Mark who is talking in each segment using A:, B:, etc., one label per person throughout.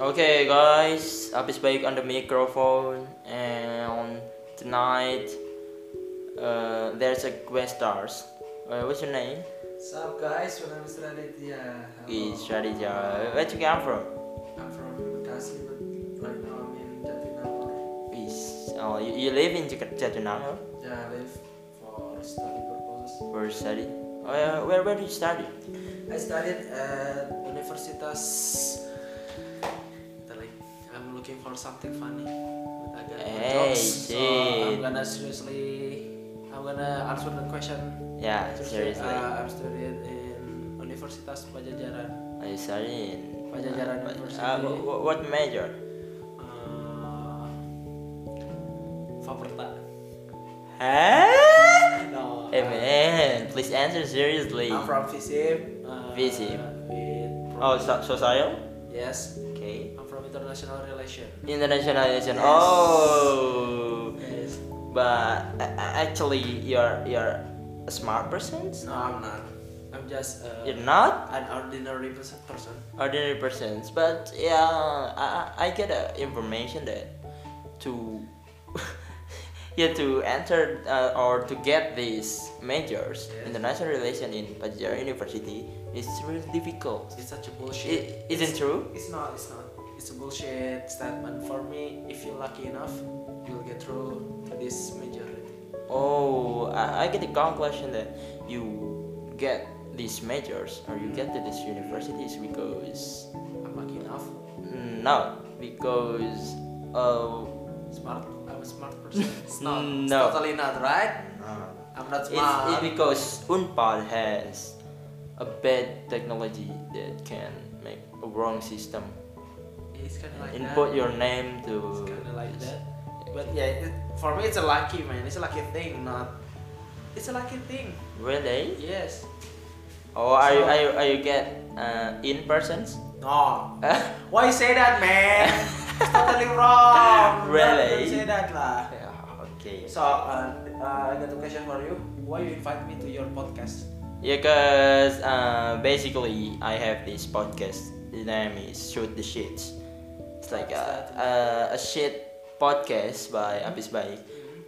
A: Okay, guys, I'll be speak on the microphone, and tonight uh, there's a guest stars. Uh, what's your name?
B: What's up, guys? My name is Raditya. Hello.
A: Is Radija. Where you come from?
B: I'm from Bekasi, but right now I'm in Jatinangor.
A: Is oh, you, you live in Jat- Jatinangor
B: Yeah, I live for study purposes.
A: for study? Oh, yeah. Where where do you study?
B: I studied at Universitas. Bentar lagi. I'm looking for something funny. But I got no
A: Hey,
B: jokes, so
A: shit.
B: I'm gonna seriously. I'm gonna answer the question.
A: Yeah, Ah,
B: Seriously,
A: seriously.
B: uh, I'm studying in Universitas Pajajaran.
A: I study in.
B: Pajajaran
A: uh,
B: University.
A: uh, wh- wh- what major?
B: Uh, Faperta.
A: Huh?
B: No. uh,
A: Hey man, please answer seriously.
B: I'm from Visip. Uh,
A: Visip.
B: with-
A: E Oh, so- social?
B: Yes,
A: Okay.
B: I'm from international relation.
A: Internationalization.
B: Yes.
A: Oh,
B: Yes.
A: but a- a- actually, you're you're a smart person.
B: No, I'm not. I'm just uh,
A: You're not
B: an ordinary pers- person.
A: ordinary persons, but yeah, I I I get uh, information that to yeah to enter uh, or to get these majors,
B: Yes.
A: international relation in Pajar University, is really difficult.
B: It's such a bullshit.
A: It isn't true.
B: It's not. It's not. It's a bullshit statement for me. If you're lucky enough, you'll get through to this majority.
A: Oh, I, I get the conclusion that you get these majors or you get to these universities because
B: I'm lucky enough.
A: no, because uh,
B: Smart. I'm a smart person. It's not. It's
A: No.
B: totally not right. I'm not
A: it's,
B: smart.
A: it's because Unpad has a bad technology that can make a wrong system
B: It's kind of like that.
A: input your name to
B: It's kind of like that.
A: Yeah.
B: But yeah, it, for me it's a lucky man. It's a lucky thing, not. It's a lucky thing.
A: really Oh,
B: Yes.
A: or are you
B: So-
A: are you, are you get uh, in persons
B: No. Why you say that, man? it's totally wrong.
A: Really?
B: Don't say that lah.
A: Yeah, okay
B: So, uh, uh, I got a question for you. Why you invite me to your podcast?
A: Yeah, cause uh, basically I have this podcast. The name is Shoot the Shits. It's like a, a, a shit podcast by Abis Baik. Mm-hmm.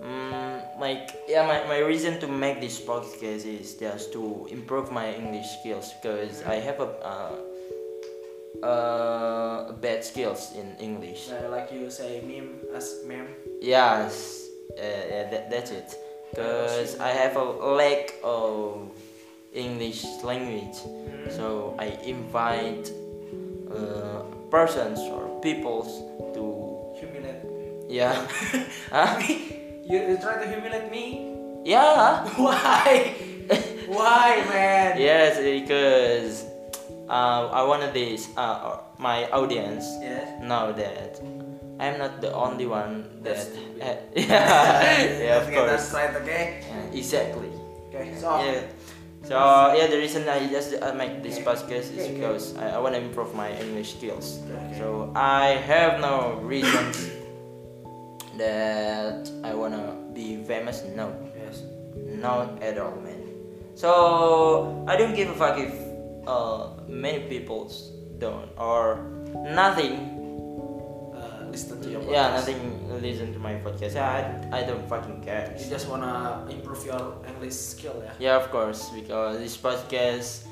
A: Mm, like yeah, my, my reason to make this podcast is just to improve my English skills because I have a uh, uh, bad skills in English.
B: Uh, like you say, meme as meme.
A: Yes, uh, yeah, that, that's it. Because I have a lack of English language,
B: Mm.
A: so I invite uh, persons or peoples to
B: Humiliate.
A: yeah, huh?
B: you, you try to humiliate me?
A: yeah,
B: Why? Why, man?
A: yes, because uh, I wanted this uh, my audience
B: Yes.
A: know that I'm not the only one that
B: That's stupid.
A: yeah, yeah, of
B: Okay,
A: course,
B: That's right, okay?
A: Yeah, exactly.
B: Okay, so.
A: yeah. So yeah, the reason I just uh, make this podcast is
B: Okay, okay.
A: because I, I want to improve my English skills.
B: Okay.
A: So I have no reasons that I wanna be famous. No,
B: Yes.
A: not at all, man. So I don't give a fuck if uh, many people don't or nothing.
B: Uh, listen to your podcast.
A: Yeah, nothing. Listen to my podcast. Yeah, I, I don't fucking care.
B: You just wanna improve your English skill, yeah?
A: Yeah, of course, because this podcast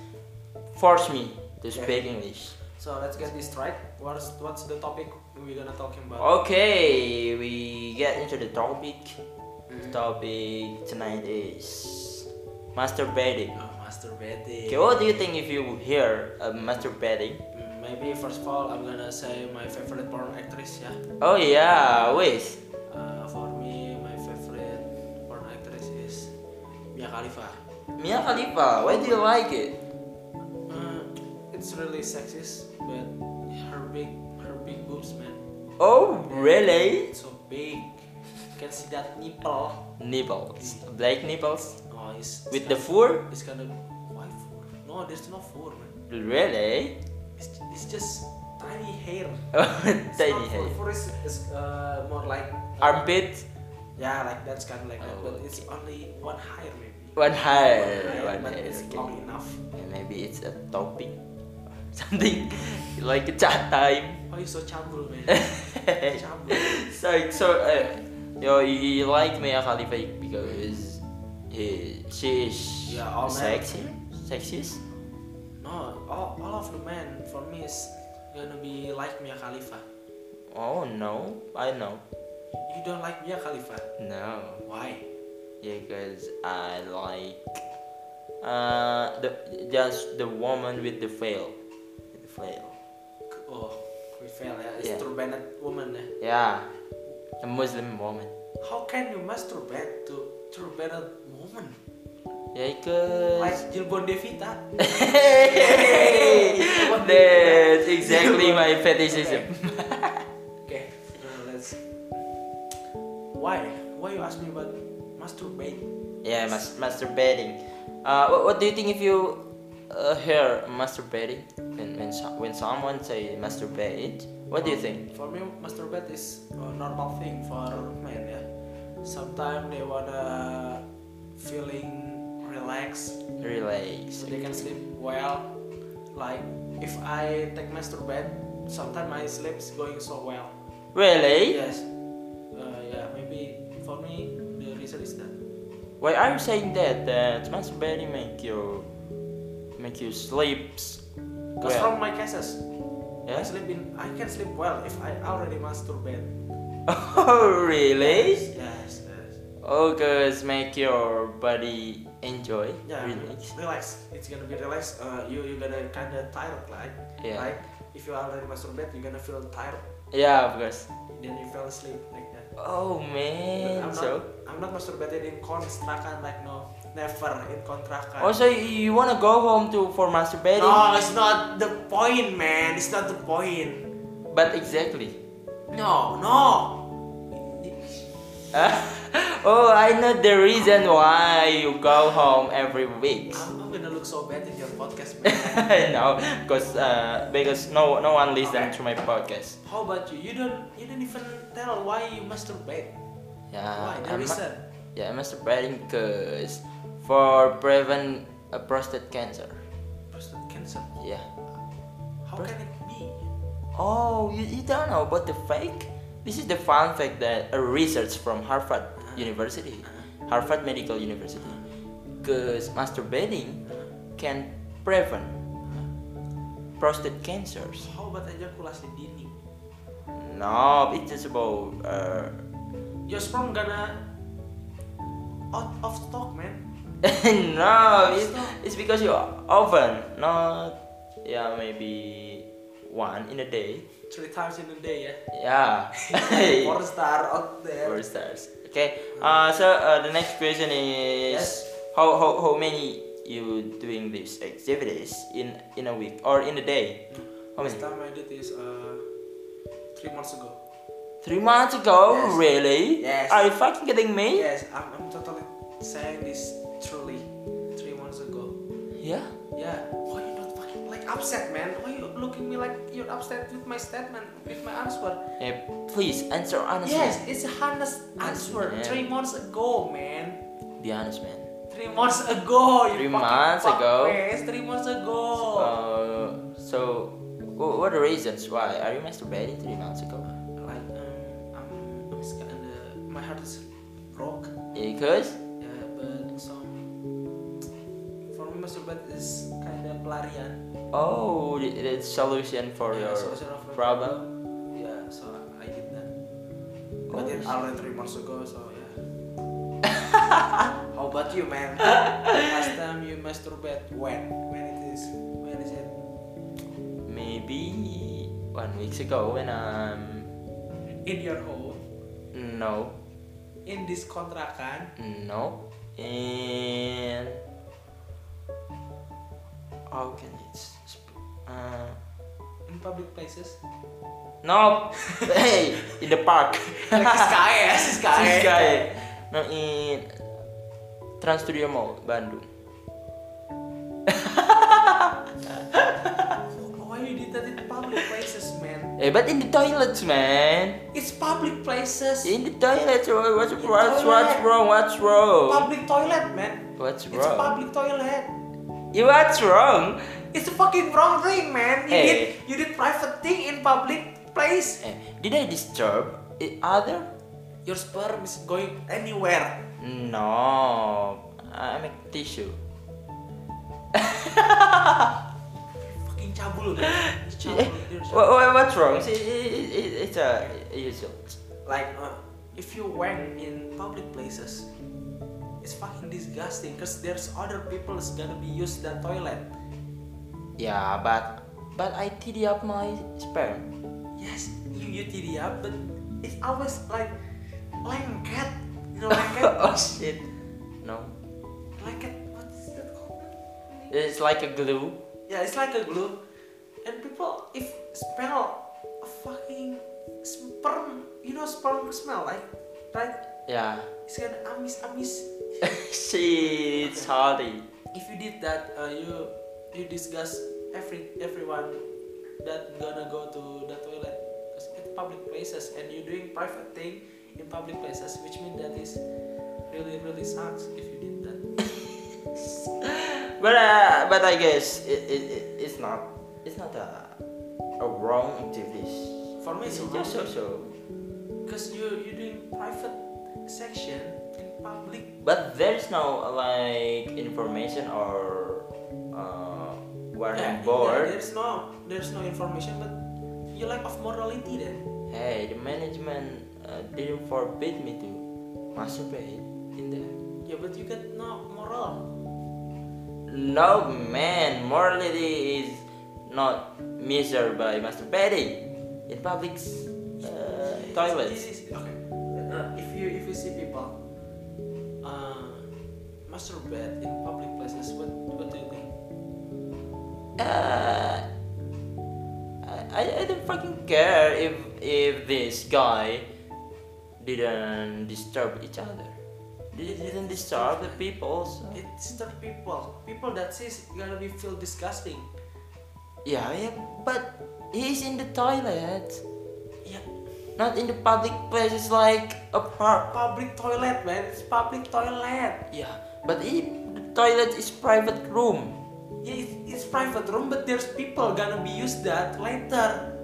A: forced me to speak English.
B: So let's get this right. What's what's the topic we're gonna talk
A: Oh,
B: about?
A: Okay, we get into the topic.
B: Mm-hmm.
A: The topic tonight is masturbating.
B: Uh, masturbating.
A: Okay, what do you think if you hear a masturbating?
B: Mm, Maybe first of all, I'm gonna say my favorite porn actress, yeah.
A: Oh yeah, wait.
B: Uh, for me, my favorite porn actress is Mia Khalifa.
A: Mia Khalifa, why do you like it?
B: Uh, it's really sexist, but her big her big boobs, man.
A: Oh really?
B: It's so big. You can see that nipple.
A: Nipples, black nipples
B: Oh, it's, it's
A: with the
B: kinda-
A: fur?
B: It's kind of why four? No, there's no four, man.
A: Really?
B: It's, it's just tiny hair.
A: Oh,
B: It's
A: tiny
B: not
A: hair.
B: Four, four is, is uh, more like uh,
A: Armpit,
B: Yeah, like that's kind of like that,
A: Oh,
B: but it's only one hair maybe.
A: one hair,
B: One hair,
A: one
B: but
A: hair.
B: it's
A: okay.
B: long enough.
A: And maybe it's a topic. something like a chat time.
B: Why you Oh, so cabul, man? cabul.
A: So so uh, yo, he like Mia Khalifa because he she is
B: Yeah, all men.
A: sexy, sexist.
B: No, all, all of the men for me is gonna be like Mia Khalifa.
A: Oh no, I know.
B: You don't like Mia Khalifa?
A: No.
B: Why?
A: Yeah, because I like uh the just the woman with the veil, the veil.
B: Oh, we fail ya. It's
A: Yeah.
B: turbaned woman ya.
A: Yeah, a Muslim woman.
B: How can you masturbate to turbaned woman?
A: Yeah, because
B: Like Jilbon Devita.
A: that's exactly my fetishism.
B: Okay, now let's. Why? Why you ask me about masturbate?
A: Yeah, mas- masturbating. Uh, what, what do you think if you uh, hear masturbating when when, so- when someone say masturbate? What do you think?
B: For me, masturbate is a normal thing for men ya. Sometimes they wanna feeling relaxed,
A: Relax.
B: so they can sleep well. Like if I take masturbate, sometimes my sleep's going so well.
A: Really?
B: Yes. Uh, yeah, maybe for me the reason is that.
A: Why are you saying that? That masturbating make you make you sleeps.
B: Cause
A: well.
B: from my cases, I
A: Yes.
B: sleep in, I can sleep well if I already masturbate.
A: Oh really?
B: Yes, yes.
A: Oh, cause make your body enjoy,
B: Yeah,
A: relax.
B: relax. It's gonna be relaxed. Uh, you you're gonna kinda tired, like
A: Yeah.
B: like if you already masturbate, you're gonna feel tired.
A: Yeah, of course.
B: Then you fell asleep like that.
A: Oh
B: But
A: man,
B: I'm
A: so.
B: not I'm not masturbated in kontrakan like no never in kontrakan.
A: Also, Oh, you wanna go home to for masturbating?
B: no, it's not the point, man. It's not the point.
A: But exactly.
B: No, no.
A: oh, I know the reason why you go home every week.
B: I'm, I'm gonna look so bad in your podcast, man.
A: no, because uh, because no no one listen to my podcast.
B: How about you? You don't you don't even tell why you masturbate.
A: Yeah,
B: why? The
A: I'm
B: reason.
A: yeah, I'm masturbating because for prevent uh, prostate cancer.
B: Prostate cancer.
A: Yeah.
B: How
A: Pros-
B: can it be?
A: Oh, you, you don't know about the fake? This is the fun fact that a research from Harvard University, Harvard Medical University, because masturbating can prevent prostate cancers.
B: How about ejakulasi dini?
A: No, it's just about uh,
B: Your sperm gonna out of stock, man.
A: no, it's, it's because you often not yeah maybe one in a day.
B: Three times in a day, ya.
A: Yeah.
B: Four star out there.
A: Four stars. Okay. Uh, so uh, the next question is
B: Yes.
A: how, how how many you doing these activities in in a week or in a day? How many?
B: Last time I did is uh, three months ago.
A: Three months ago,
B: Yes.
A: really?
B: Yes.
A: Are you fucking kidding me?
B: Yes, I'm, I'm totally saying this truly. Three months ago.
A: Yeah.
B: Yeah. Why you not fucking like upset, man? Why you looking me like you're upset with my statement, with my answer?
A: Yeah, please answer honestly.
B: Yes, it's a honest answer.
A: man.
B: Three months ago, man.
A: Be honest, man.
B: Three months ago. You
A: Three
B: fucking
A: months ago.
B: fuckface. Three months ago.
A: Uh, so wh- what are the reasons why are you masturbating three months ago?
B: like um, I'm, I'm scared and uh, my heart is broke.
A: Because
B: Yeah, but some for me masturbate is kind of pelarian.
A: oh, the, the solution for
B: yeah,
A: your
B: solution of my
A: problem.
B: Yeah, so I did that.
A: Oh,
B: But then
A: shit.
B: already three months ago, so yeah. How about you, man? Last time you masturbate when? When it is? When is it?
A: Maybe one week ago when I'm
B: In your home,
A: no
B: in this kontrakan.
A: no and how can it sp- uh,
B: in public places
A: no hey in the park
B: like eh? SKS
A: This
B: SKS
A: guy. no in Trans Studio Mall Bandung
B: why you did that in public places man
A: eh but in the toilets man
B: it's public places
A: in the toilets what- what's
B: In
A: what's, what's
B: toilet.
A: wrong what's wrong
B: public toilet man
A: what's
B: it's a
A: wrong
B: public toilet
A: Yeah, what's wrong
B: It's a fucking wrong thing, man. You
A: Hey.
B: did you did private thing in public place.
A: Eh, did I disturb i- other?
B: Your sperm is going anywhere.
A: No, I make tissue.
B: Fucking cabul.
A: Eh,
B: Cabul, you're
A: wha- wha- what's wrong? It's, it's a it's a-
B: like uh, if you went in public places it's fucking disgusting because there's other people's gonna be used that toilet
A: yeah, but but I tidy up my sperm.
B: yes you you td up but it's always like lengket you know lengket
A: oh shit, no,
B: lengket what is that called
A: it's like a glue.
B: yeah it's like a glue and people if smell a fucking sperm you know sperm smell like right
A: Yeah,
B: it's gonna amis amis
A: shit, it's hardy.
B: if you did that uh, you you disgust every everyone that gonna go to the toilet because it's public places and you're doing private thing in public places which means that is really really sucks if you did that
A: But uh, but I guess it, it, it it's not it's not a a wrong activity.
B: for me
A: It's
B: it's
A: just so
B: wrong
A: so.
B: because you you're doing private section in public
A: But there's no like information or uh, warning
B: Yeah, yeah,
A: board.
B: there's no there's no information but you lack of morality then
A: Hey, the management uh, didn't forbid me to masturbate in there.
B: yeah but you got no moral
A: No man, morality is not measured by masturbating in public uh, toilets.
B: Yes, yes, yes. Okay. Uh, if you if you see people uh, masturbate in public places, what what do you think?
A: uh, I, I don't fucking care if if this guy didn't disturb each other. They didn't disturb the people. So.
B: It's the people people that says gonna be feel disgusting.
A: Yeah, yeah, but he's in the toilet,
B: Yeah,
A: not in the public places like a park.
B: public toilet man, it's public toilet.
A: Yeah, but he, the toilet is private room.
B: Yeah, it's, it's private room, but there's people gonna be use that later.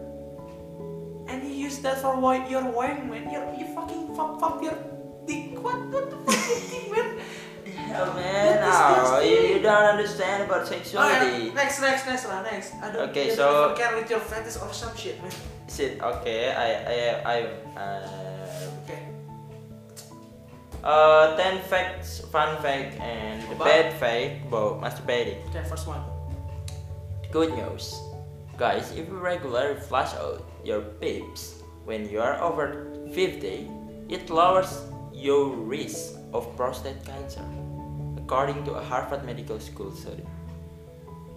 B: And you use that for what your wine man, you you fucking fuck fuck your dick. What what the fuck you think man?
A: Hell man,
B: That
A: oh,
B: disgusting.
A: you, you don't understand about sexuality.
B: Alright, next, next, next lah, next. I don't,
A: Okay,
B: you
A: so-
B: don't care with your fetish or some shit, man.
A: Shit, okay, I I I uh,
B: Okay.
A: Uh, 10 facts, fun fact, and the
B: About-
A: bad fact about masturbating.
B: Okay, first one.
A: Good news. Guys, if you regularly flush out your peeps when you are over 50, it lowers your risk of prostate cancer, according to a Harvard Medical School study.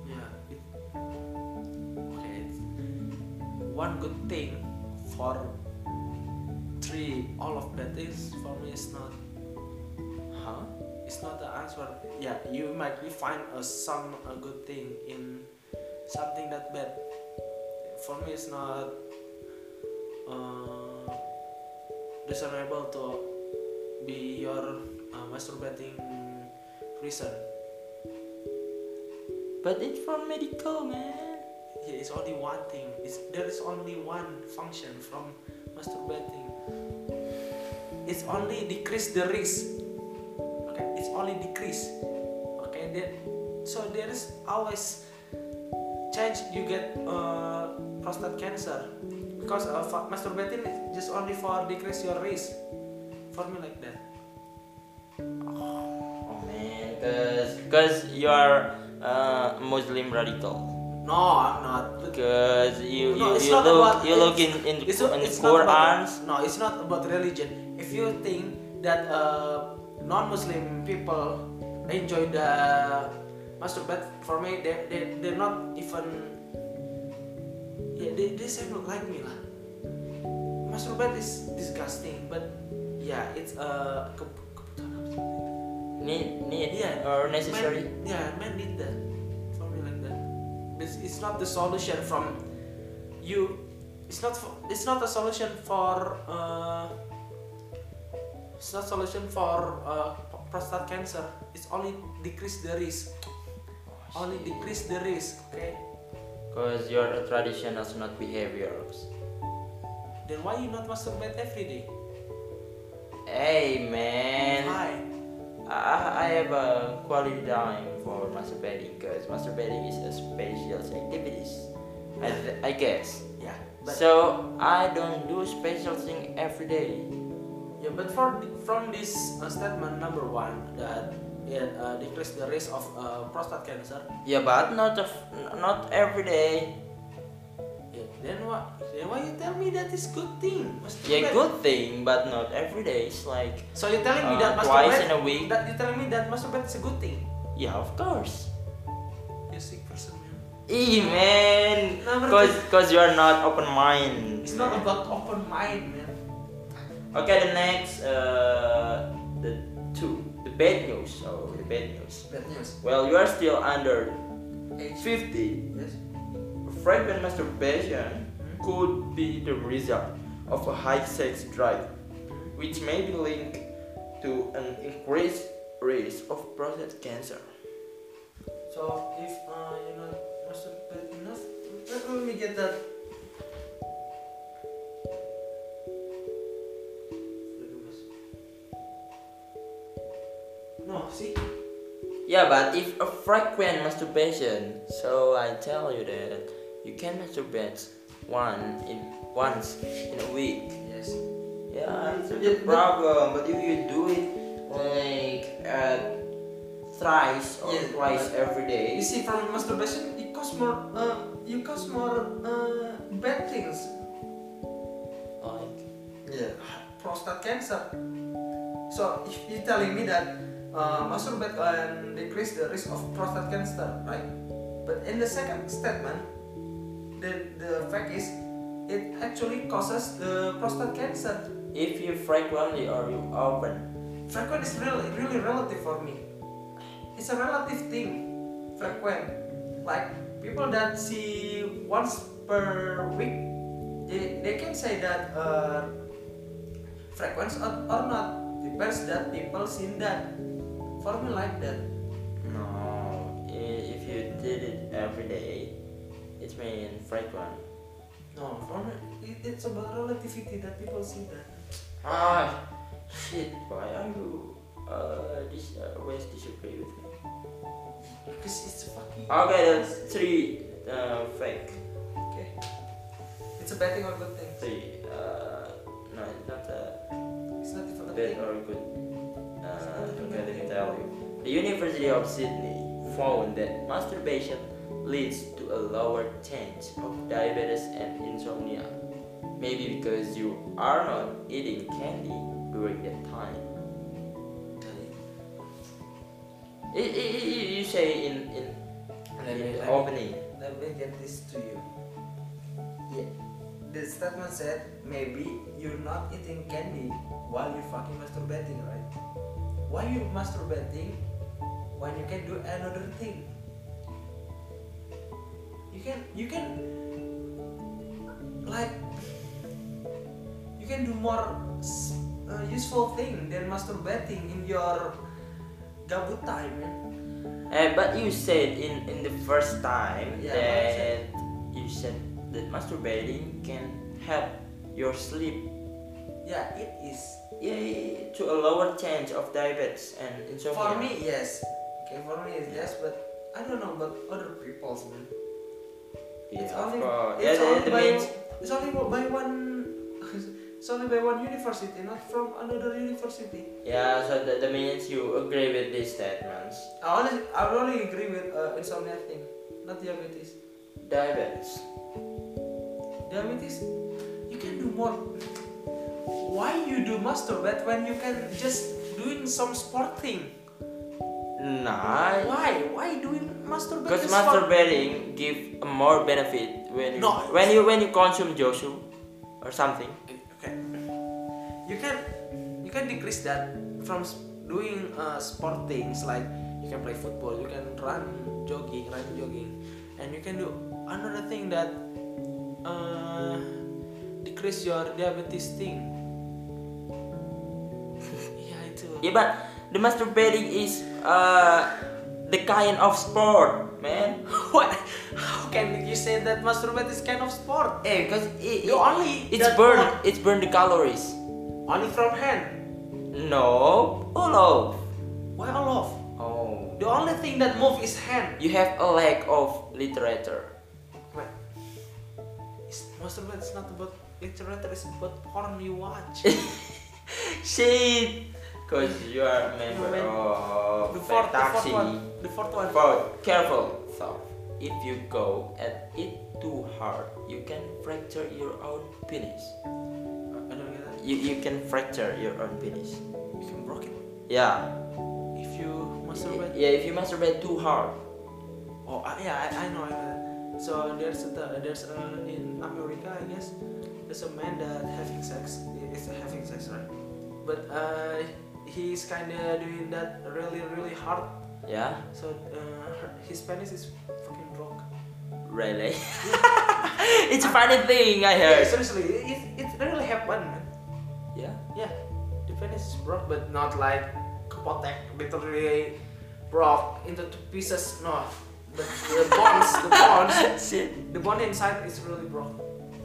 B: Yeah. It, okay. it's One good thing for three all of that is for me it's not
A: Huh?
B: it's not the answer. Yeah, you might you find a some a good thing in something that bad. For me, it's not uh, discernible to be your uh, masturbating reason.
A: But it's for medical, man.
B: Yeah, it's only one thing. It's, there is only one function from masturbating. It's only decrease the risk. Okay, it's only decrease. Okay, there, so there is always chance you get uh, prostate cancer because uh, fa- masturbating is just only for decrease your risk. For me like that.
A: Oh man, cause, cause you are uh, Muslim radical.
B: No, I'm not. But
A: Because you,
B: No,
A: you,
B: it's
A: you
B: not
A: look
B: about-
A: you look in in,
B: it's,
A: in
B: it's not about,
A: Qurans.
B: no it's not about religion if you think that uh, non-muslim people enjoy the masturbate for me they, they, they're not even yeah they, they same look like me lah masturbate is disgusting but yeah it's a uh,
A: Need need
B: Yeah.
A: or necessary.
B: Man, yeah, man need that. For me like that. It's, it's not the solution from you. It's not for, it's not a solution for uh, it's not solution for uh, prostate cancer. It's only decrease the risk.
A: Oh,
B: only decrease the risk okay
A: Because your tradition is not behavior.
B: then why you not masturbate every day
A: Hey man,
B: why
A: I, I have a quality time for masturbating because masturbating is a special activities. I, th- I guess.
B: yeah but
A: So I don't do special thing every day.
B: yeah but for from this uh, statement number one that yeah, uh, decrease the risk of uh, prostate cancer
A: Yeah, but not of, not every day.
B: yeah, then what then why you tell me that is good thing masturbate
A: Yeah, good thing, but not every day. It's like
B: so you telling
A: uh,
B: me that
A: twice in a
B: masturbate
A: week.
B: that you telling me that masturbate is a good thing
A: Yeah, of course.
B: you sick person man
A: Ee man,
B: Number
A: cause
B: two.
A: cause you are not open mind.
B: it's not
A: man.
B: about open mind man
A: Okay, the next, uh, the two, the bad news. Oh, the bad news.
B: bad news
A: Well, you are still under
B: age
A: 50.
B: yes
A: Frequent masturbation
B: Mm-hmm.
A: could be the result of a high sex drive, which may be linked to an increased risk of prostate cancer.
B: So if uh, you know masturbate enough, let, let me get that. No, see,
A: Yeah, but if a frequent masturbation, so I tell you that you can masturbate one in once in a week.
B: yes,
A: Yeah, it's a big problem. But if you do it like uh, thrice or
B: Yeah,
A: twice every
B: you
A: day,
B: see, from masturbation, it cause more, uh, you cause more uh, bad things
A: like
B: yeah. prostate cancer. So if you're telling me that uh, masturbate can decrease the risk of prostate cancer, right? But in the second statement, the, the fact is it actually causes the prostate cancer.
A: if you frequently or you often,
B: Frequent is really really relative for me. It's a relative thing. Frequent, like people that see once per week, they, they can say that uh, frequent or, or not depends that people seen that. For me like that.
A: no, i- if you did it every day, it mean frequent.
B: No, for me it, it's about relativity that people see that.
A: Ah, shit, why are you uh, dis- uh, always disagree with me?
B: Because it's fucking.
A: Okay, that's three uh, fake.
B: Okay. It's a bad thing or good thing.
A: Three, uh, no, it's not uh, a.
B: It's not even
A: bad
B: a thing.
A: or good. Uh, okay, let me tell you. The University of Sydney found that masturbation leads to a lower chance of diabetes and insomnia. Maybe because you are not eating candy during that time. I- I- I- I- you say in in,
B: Let
A: in
B: me-
A: the
B: let me-
A: opening.
B: Let me get this to you. Yeah. The statement said maybe you're not eating candy while you're fucking masturbating, right? Why you masturbating when you can do another thing? You can you can like you can do more s- uh, useful thing than masturbating in your gabut time, man.
A: Eh, but you said in in the first time
B: Yeah, I
A: that
B: said.
A: you said that masturbating can help your sleep
B: Yeah, it is.
A: Yay, to a lower chance of diabetes and insomnia.
B: For me, yes. Okay, for me it's yes, but I don't know about other people's man.
A: yeah,
B: it's
A: of
B: only,
A: course.
B: it's
A: yeah,
B: only
A: the, the
B: by
A: main,
B: it's only by one. it's only by one university, not from another university.
A: yeah, so the, the means you agree with these statements.
B: I only I only agree with uh, insomnia thing, not diabetes.
A: Diabetes.
B: Diabetes, you can do more. Why you do masturbate when you can just doing some sport thing?
A: Nah,
B: Why? Why doing masturbate?
A: because
B: is for-
A: masturbating give more benefit when you,
B: No.
A: when you when you consume Joshu or something.
B: okay you can you can decrease that from s- doing uh, sport things like you can play football you can run jogging run jogging and you can do another thing that uh, decrease your diabetes thing yeah itu
A: Yeah, but the masturbating is uh the kind of sport, man.
B: what? How can you say that masturbate is kind of sport?
A: Eh, because it,
B: You only
A: it's
B: that
A: burn
B: one.
A: it's burn the calories.
B: Only from hand.
A: No, all off.
B: Why all off?
A: Oh,
B: The only thing that move is hand.
A: you have a lack of literature.
B: What? It's, masturbate is not about literature. It's about porn you watch.
A: Shit, because you are a member
B: Yeah, man.
A: of
B: the
A: the
B: fourth, the fourth
A: taxi.
B: one. The fourth one.
A: But careful, so if you go at it too hard, you can fracture your own penis.
B: I don't get that.
A: You you can fracture your own penis.
B: You can broke it
A: Yeah.
B: if you masturbate.
A: Yeah, if you masturbate too hard.
B: Oh I- yeah, I, I know. I know. So there's a, there's a, in America, I guess, there's a man that having sex is having sex, right? But uh, he's kind of doing that really really hard.
A: Yeah.
B: So uh, her- his penis is fucking broke.
A: Really. it's a funny thing I heard.
B: seriously, it, it really happened, man.
A: Yeah.
B: Yeah, the penis is broke, but not like kepotek, literally broke into two pieces. No, the, the bones, the bones,
A: Shit.
B: the bone inside is really broke.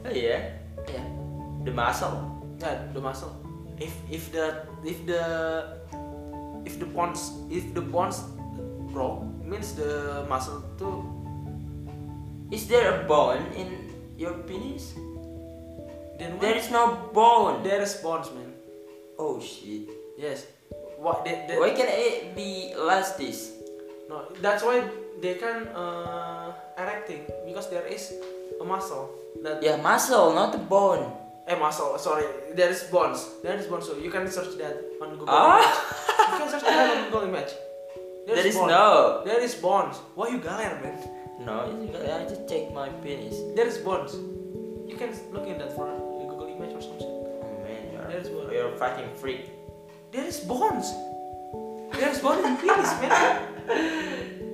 A: Oh, yeah.
B: Yeah.
A: The muscle.
B: Yeah, Nah, the muscle. If if the if the if the bonds if the bonds broke means the muscle too.
A: Is there a bone in your penis?
B: Then what?
A: There is no bone.
B: there is bonds, man.
A: Oh shit.
B: Yes. What they, they-
A: Why can it be elastic?
B: no? That's why they can uh, erecting because there is a muscle that
A: Yeah, muscle, not the bone.
B: eh muscle sorry there is bonds there is bonds so you can search that on Google.
A: Ah,
B: Image. You can search that on Google image.
A: there is
B: bonds.
A: no.
B: There is bonds. Why you galera, man?
A: No, it's because I just take my penis.
B: There is bonds. You can look in that for Google image or something.
A: Oh man, you're,
B: There's one.
A: you're a fucking freak.
B: There is bonds. There is bonds in penis, man.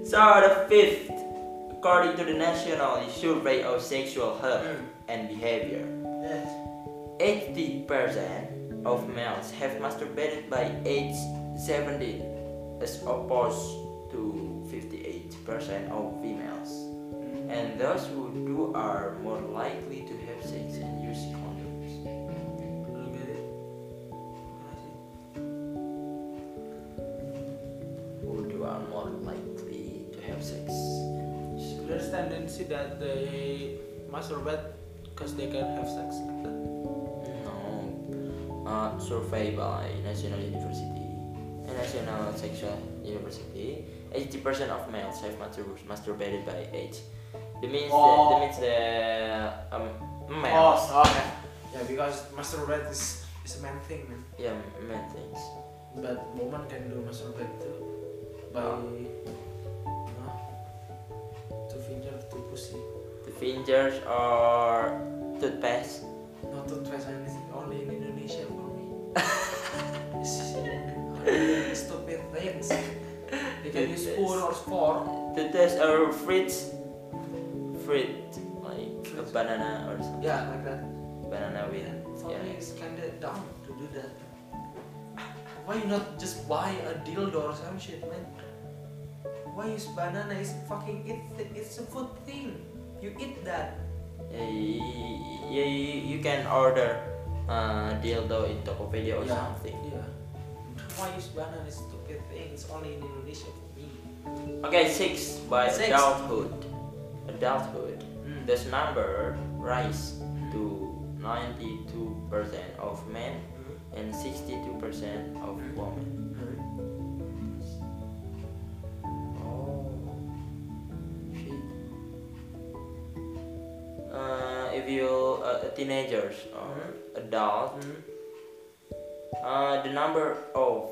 A: So the fifth, according to the National Survey of Sexual Health and Behavior, 80% of males have masturbated by age 17, as opposed to 58% of females.
B: Mm-hmm.
A: And those who do are more likely to have sex and use condoms.
B: Look at it.
A: Who do are more likely to have sex and use
B: There is tendency that they masturbate because they can have sex like that.
A: No. Oh. Uh, survey by National University, uh, National Sexual University, 80% of males have mastur- masturbated by age. That means
B: Oh.
A: that, that means the um, males.
B: okay. Yeah, because masturbate is, is a man thing, man.
A: Yeah, men things.
B: But woman can do masturbate too by
A: Oh.
B: you know, two finger, two pussy.
A: The fingers are toothpaste.
B: Not to try Chinese only in Indonesia for me. uh, Stupid things. They can use spoon or fork.
A: Toothpaste are fruit, fruit like a banana or something.
B: Yeah, like that.
A: Banana with.
B: For
A: yeah.
B: me, it's kinda dumb to do that. Why not just buy a dildo or some shit, man? Why use banana? It's fucking it's it's a food thing. You eat that.
A: Yeah, you, you, you can order uh, dildo in Tokopedia or
B: Yeah.
A: something.
B: Yeah. Why use banana? It's stupid thing. It's only in Indonesia for me.
A: Okay, six by
B: Six.
A: adulthood. Adulthood.
B: Mm,
A: This number rise to 92% of men
B: Mm-hmm.
A: and 62% of women. Oh, shit. Uh, if you uh, teenagers or adult,
B: Mm-hmm.
A: Uh, the number of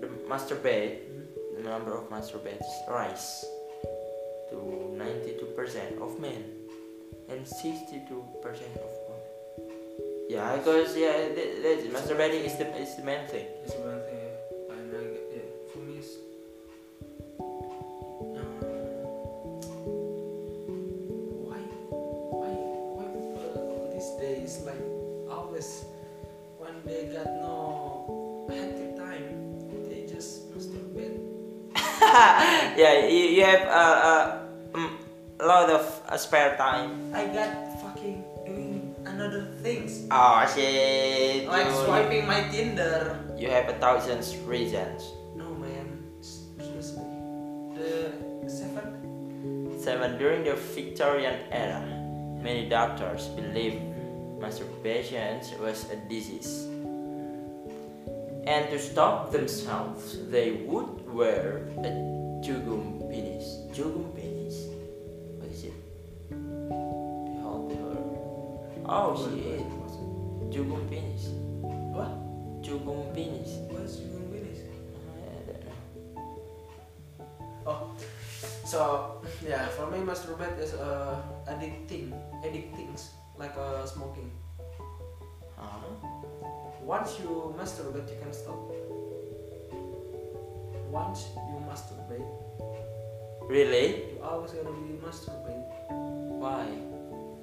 A: the masturbate, the number of masturbates rise to 92% of men and 62% of women. Yeah, because yeah, that, that's masturbating is the is the main thing.
B: It's one thing, yeah. And I get, yeah. For me, it's. Um, why? Why? Why people these days, like, always when they got no hectic time, they just masturbate?
A: yeah, you, you have a uh, uh, mm, lot of uh, spare time.
B: I got fucking doing another things.
A: Oh shit.
B: Like
A: dude.
B: swiping my Tinder.
A: You have a thousand reasons.
B: No man. S- Seriously. The seven?
A: Seven. During the Victorian era, many doctors believed masturbation was a disease. And to stop themselves, they would wear a jugum penis. Jugum penis? What is it? Behold the her. Oh
B: What-
A: shit.
B: what-
A: Jugum penis.
B: What?
A: Jugum Ah, penis.
B: What's Jugum Penis?
A: I don't know.
B: Oh. So yeah, for me masturbate is uh, addicting, addicting, like uh, smoking.
A: Huh?
B: Once you masturbate, you can stop. Once you masturbate,
A: Really?
B: you always gonna be masturbate.
A: Why?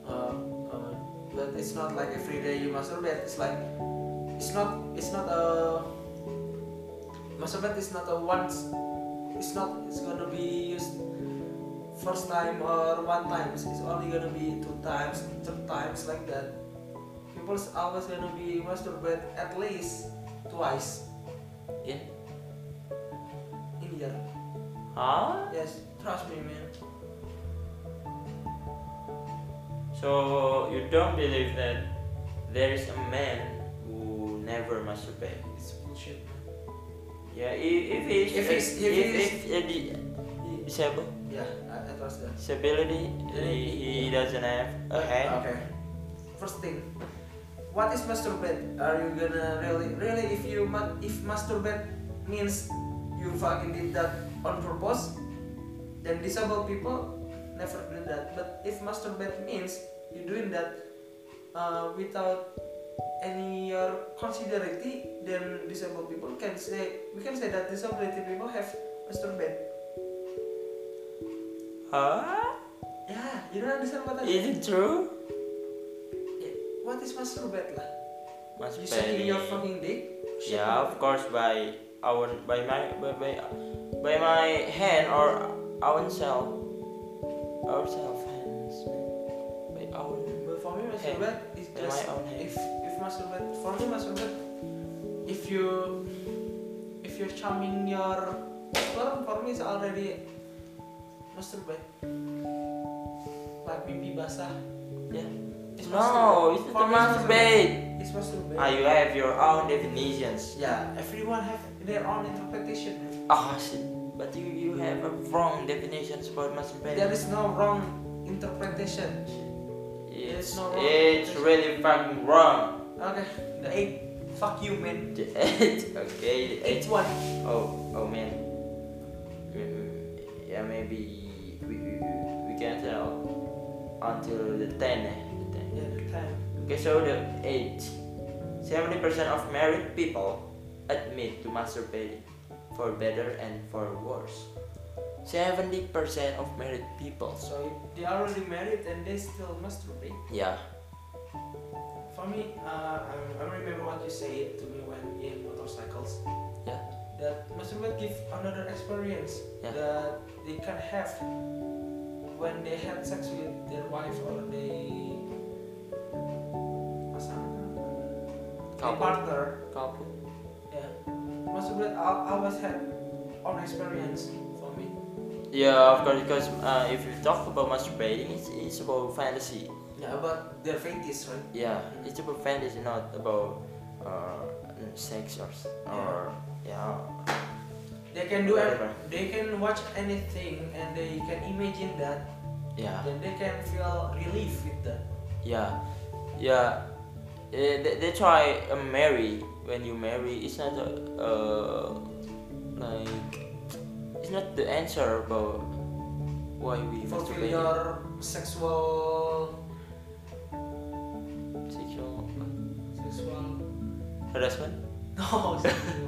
B: Uh, uh, but it's not like every day you masturbate. It's like it's not it's not a masturbate is not a once. It's not it's gonna be used first time or one times. It's only gonna be two times, three times like that. People's always gonna be masturbate at least twice
A: In?
B: in year.
A: Huh?
B: Yes, trust me, man.
A: So you don't believe that there is a man who never masturbate?
B: It's bullshit.
A: Yeah, if if he's
B: If he's- if he's-
A: if, if, he- he- disabled
B: Yeah, I, I trust that.
A: disability he, he doesn't have a hand.
B: Okay. First thing, what is masturbate? Are you gonna really, really if you ma- if masturbate means you fucking did that on purpose, then disabled people never do that. But if masturbate means you doing that uh, without any your considerity, then disabled people can say we can say that disability people have masturbate. Ah.
A: Huh?
B: Yeah, you don't understand what I mean.
A: Is it true?
B: Yeah, What is masturbate lah? You sucking
A: Masturbate.
B: your fucking dick?
A: Yeah, of course by our by my by by, by my hand or our self ourself hands by our
B: But for me, masturbate is
A: By
B: just
A: my own hand.
B: if if masturbate for me masturbate if you if you're charming your for for me it's already masturbate like pipi basah
A: yeah.
B: It's
A: No, it's
B: For
A: not
B: me, it's
A: masturbate.
B: it's masturbate.
A: Ah, you have your own definitions.
B: yeah, everyone have their own interpretation. man.
A: Ah, shit. But you, you have a wrong definitions for
B: There
A: masturbation.
B: is no wrong interpretation.
A: It's,
B: is no wrong
A: it's
B: definition.
A: really fucking wrong.
B: Okay, the eight. Fuck you, man.
A: The eight, okay, the eight.
B: Eight one.
A: Oh, oh man. Mm, Yeah, maybe we, we, we can tell until the ten. eh, the ten.
B: Yeah, the time.
A: Okay, so the eight. Seventy percent of married people admit to masturbating, for better and for worse. Seventy percent of married people.
B: So they are already married and they still masturbate.
A: Yeah.
B: For me, uh, I, I remember what you said to me when in motorcycles.
A: Yeah.
B: That masturbate give another experience
A: Yeah.
B: that they can have when they had sex with their wife or they pasangan, their
A: Couple.
B: partner.
A: Couple.
B: Yeah. Masturbate I always had own experience for me.
A: Yeah, of course, because uh, if you talk about masturbating, it's, it's about fantasy.
B: Yeah, about their fetish, right?
A: Yeah, it's about fantasy, not about uh, sex or, s- or yeah.
B: They can do it.
A: whatever.
B: They can watch anything and they can imagine that
A: Yeah,
B: then they can feel relief with that.
A: yeah, yeah. Eh, They, they try uh, marry when you marry. It's not a, uh, like it's not the answer about why we
B: Fulfill
A: masturbate.
B: your sexual
A: Sexual
B: sexual
A: harassment,
B: no sexual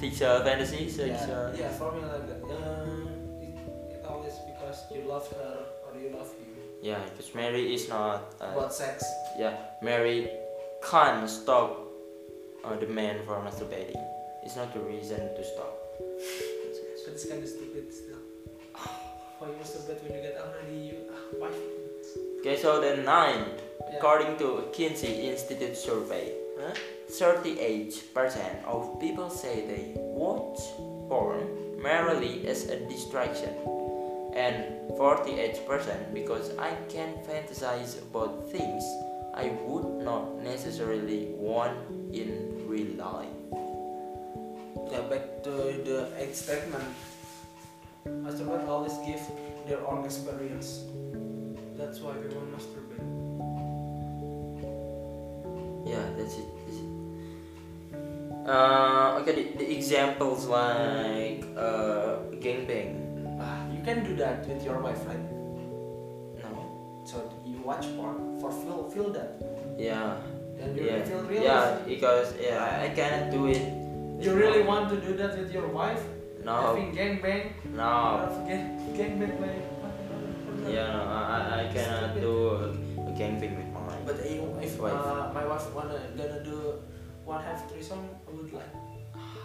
A: sexual fantasy,
B: yeah,
A: sexual.
B: yeah for me like that. Um, it, it always because you love her or you love him.
A: Yeah, because Mary is not. Uh,
B: About sex.
A: yeah, Mary can't stop uh, the man from masturbating. It's not the reason to stop.
B: That is kind of stupid still. Why you masturbate when you get already you? Ah, why?
A: Okay, so the ninth,
B: Yeah.
A: according to Kinsey Institute survey,
B: Huh?
A: 38% of people say they watch porn merely as a distraction, and 48% because I can fantasize about things I would not necessarily want in real life.
B: Yeah, back to the eighth statement. Masturbate always give their own experience. That's why we want masturbate.
A: Yeah, that's it. That's it. Uh, okay, the, the examples like uh, gangbang.
B: Ah, you can do that with your wife, right?
A: No.
B: So you watch porn for feel feel that,
A: Yeah.
B: and you
A: yeah.
B: feel real.
A: Yeah, because yeah, I, I cannot do it.
B: You really want to do that with your wife?
A: No.
B: Having gangbang?
A: No.
B: Or Gang, gangbang by
A: Yeah, no, I, I- I cannot do a gangbang with mine.
B: But if, if
A: Wife.
B: Uh, my wife wanna gonna do one half threesome, I would like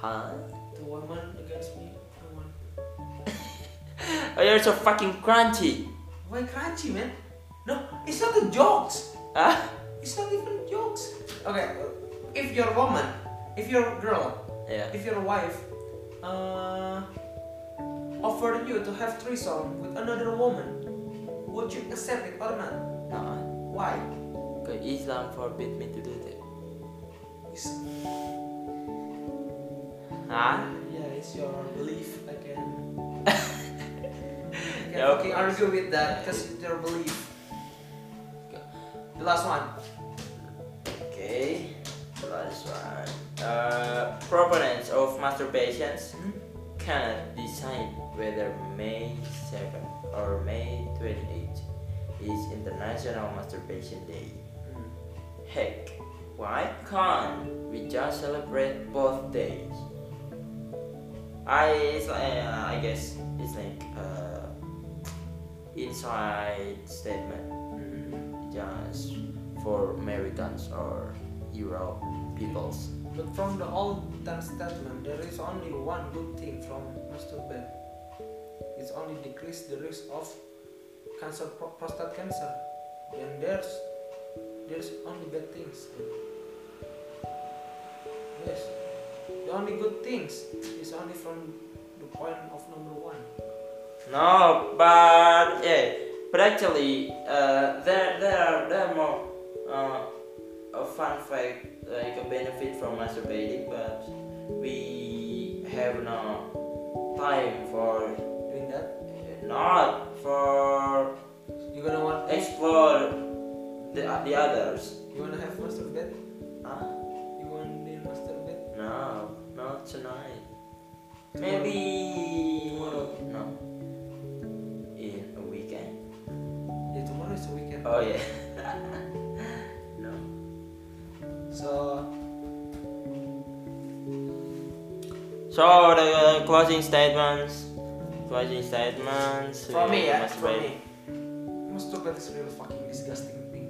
A: Huh?
B: two women against me. I want.
A: Oh, you're so fucking crunchy.
B: Why crunchy man? No, it's not the jokes.
A: Huh?
B: It's not even jokes. Okay, if your woman, if your girl,
A: Yeah.
B: if your wife, uh, offered you to have threesome with another woman, would you accept it or not?
A: No.
B: Why?
A: Because Islam forbid me to do that.
B: It's
A: Huh?
B: Yeah, it's your belief again. I can
A: Yeah, of
B: fucking
A: course.
B: argue with that because it's your belief. The last one.
A: Okay. Last one. Uh, proponents of masturbations
B: Hmm?
A: cannot decide whether May 7 or May 28 is International Masturbation Day.
B: Hmm.
A: Heck, why can't we just celebrate both days? I it's like, uh, I guess it's like uh, inside statement just for Americans or Europe peoples.
B: But from the old time statement, there is only one good thing from masturbation. It's only decrease the risk of cancer, pro- prostate cancer. Then there's there's only bad things. Yes, the only good things is only from the point of number one.
A: No, but yeah, but actually, uh, there there are there are more uh, a fun fact like a benefit from masturbating, but we have no time for
B: Doing that,
A: not for
B: you're gonna want
A: explore the the others.
B: You wanna have masturbate?
A: Huh?
B: You want to masturbate?
A: No, not tonight.
B: Tomorrow.
A: Maybe
B: Tomorrow.
A: no. In a weekend.
B: Yeah, tomorrow is the weekend.
A: Oh yeah. no.
B: So
A: So the uh, closing statements. Closing statements.
B: for me, yeah,
A: Must
B: for
A: wait.
B: me, masturbate is really fucking disgusting thing.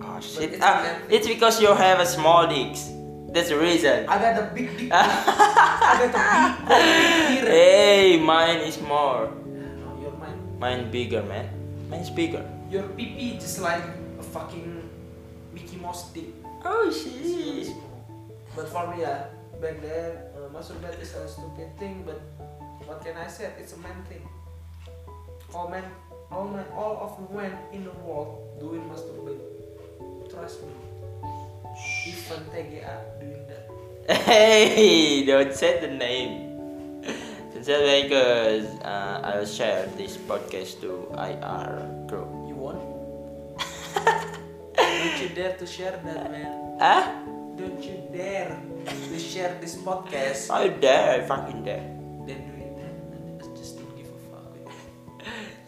A: Oh shit.
B: it's
A: Ah,
B: unhealthy.
A: it's because you have a small dick. That's the reason.
B: I got the big dick. I got the big dick here.
A: Hey, mine is more.
B: No, your mind,
A: Mine bigger, man. Mine's bigger.
B: your PP just like a fucking Mickey Mouse dick.
A: Oh
B: It's really small. But for me, yeah, back there, uh, masturbate is a stupid thing. But what can I say? It's a man thing. All men, all men, all of the men in the world doing masturbate. Trust me. Even TGA doing that.
A: Hey, don't say the name. Don't say that because uh, I'll share this podcast to IR group.
B: You want? Don't you dare to share that, man.
A: Ah?
B: Don't you dare to share this podcast.
A: I dare, I fucking dare.
B: Then do it. I just don't give a fuck.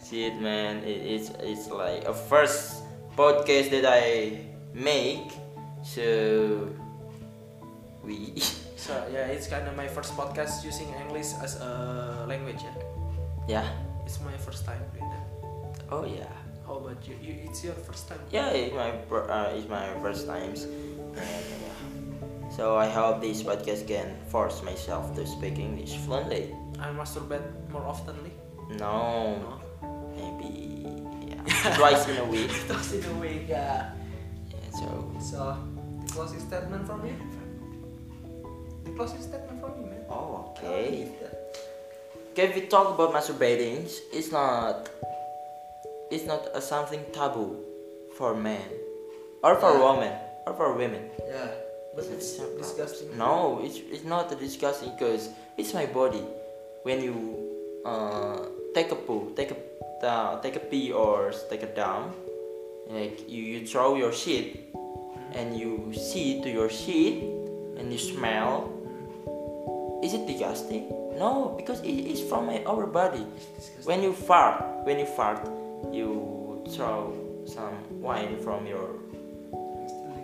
A: Shit, man, it, it's it's like a first podcast that I make, so we
B: So yeah, it's kind of my first podcast using English as a language. Yeah,
A: yeah.
B: it's my first time doing that.
A: Oh yeah,
B: How about you? you it's your first time.
A: yeah. It's my fir- uh, it's my first times, and yeah. So I hope this podcast can force myself to speak English fluently.
B: I masturbate more oftenly?
A: No,
B: No.
A: maybe yeah, twice in a week.
B: Twice in a week. Yeah.
A: Yeah, so
B: So, the closing statement from you? The closing statement from you, man.
A: oh
B: I don't
A: okay.
B: believe that.
A: Okay, if we talk about masturbating, it's not it's not a something taboo for men or for
B: Yeah.
A: women or for women.
B: Yeah. But it's
A: It's not-
B: disgusting.
A: No, it's it's not disgusting because it's my body. When you uh, take a poo, take a uh, take a pee or take a dump, like you, you throw your shit and you see to your shit and you smell. Is it disgusting? No, because it is from our body.
B: Disgusting.
A: When you fart, when you fart, you throw some wine from your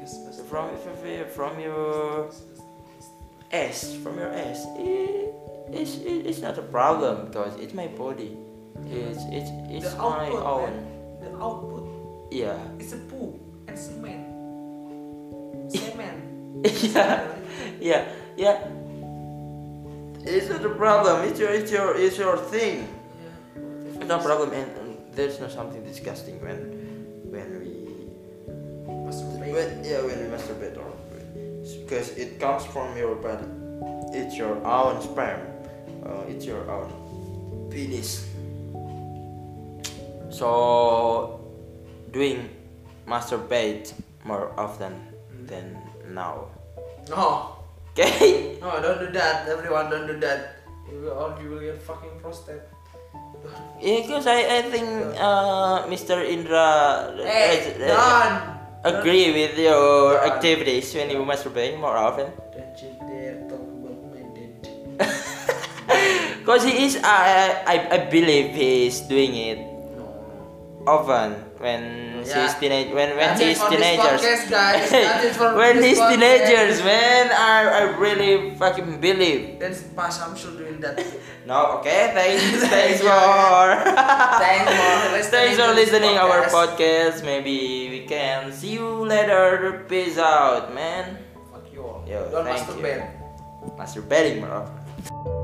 B: Disgusting.
A: from from your ass from your ass it, it's, it, it's not a problem because it's my body it's it's it's
B: The
A: my
B: output,
A: own
B: man. The output.
A: yeah
B: It's a poo and cement. Cement.
A: yeah yeah yeah it's not a problem it's your it's your it's your thing
B: Yeah.
A: it's not a problem and, and there's no something disgusting when when we
B: Masturbate.
A: When, yeah, when you masturbate or because it comes from your body. It's your own sperm. Uh, it's your own penis. So doing masturbate more often than now.
B: No.
A: Okay.
B: No, don't do that. Everyone, don't do that. You will, or you will get fucking prostate.
A: Yeah, because I, I think uh, Mr. Indra
B: Hey,
A: uh,
B: done.
A: agree with your
B: Done.
A: activities when you masturbate more often.
B: Don't you dare talk about my dad.
A: Because he is, I, I, I believe he is doing it
B: No, no.
A: often when
B: Yeah.
A: she's teenage, when when
B: That's it
A: she's
B: for this
A: teenagers.
B: podcast, guys. That's it for
A: when
B: this
A: he's
B: podcast.
A: teenagers, man, I, I really fucking believe.
B: That's Pak Samsul doing that.
A: No, okay, thanks, thanks
B: Yeah.
A: for.
B: Thanks for listening.
A: Thanks
B: to
A: for
B: this
A: listening our podcast. Maybe we can see you later. Peace out, man.
B: Fuck you all.
A: Yo,
B: don't
A: thank you.
B: masturbate.
A: Masturbating, bro.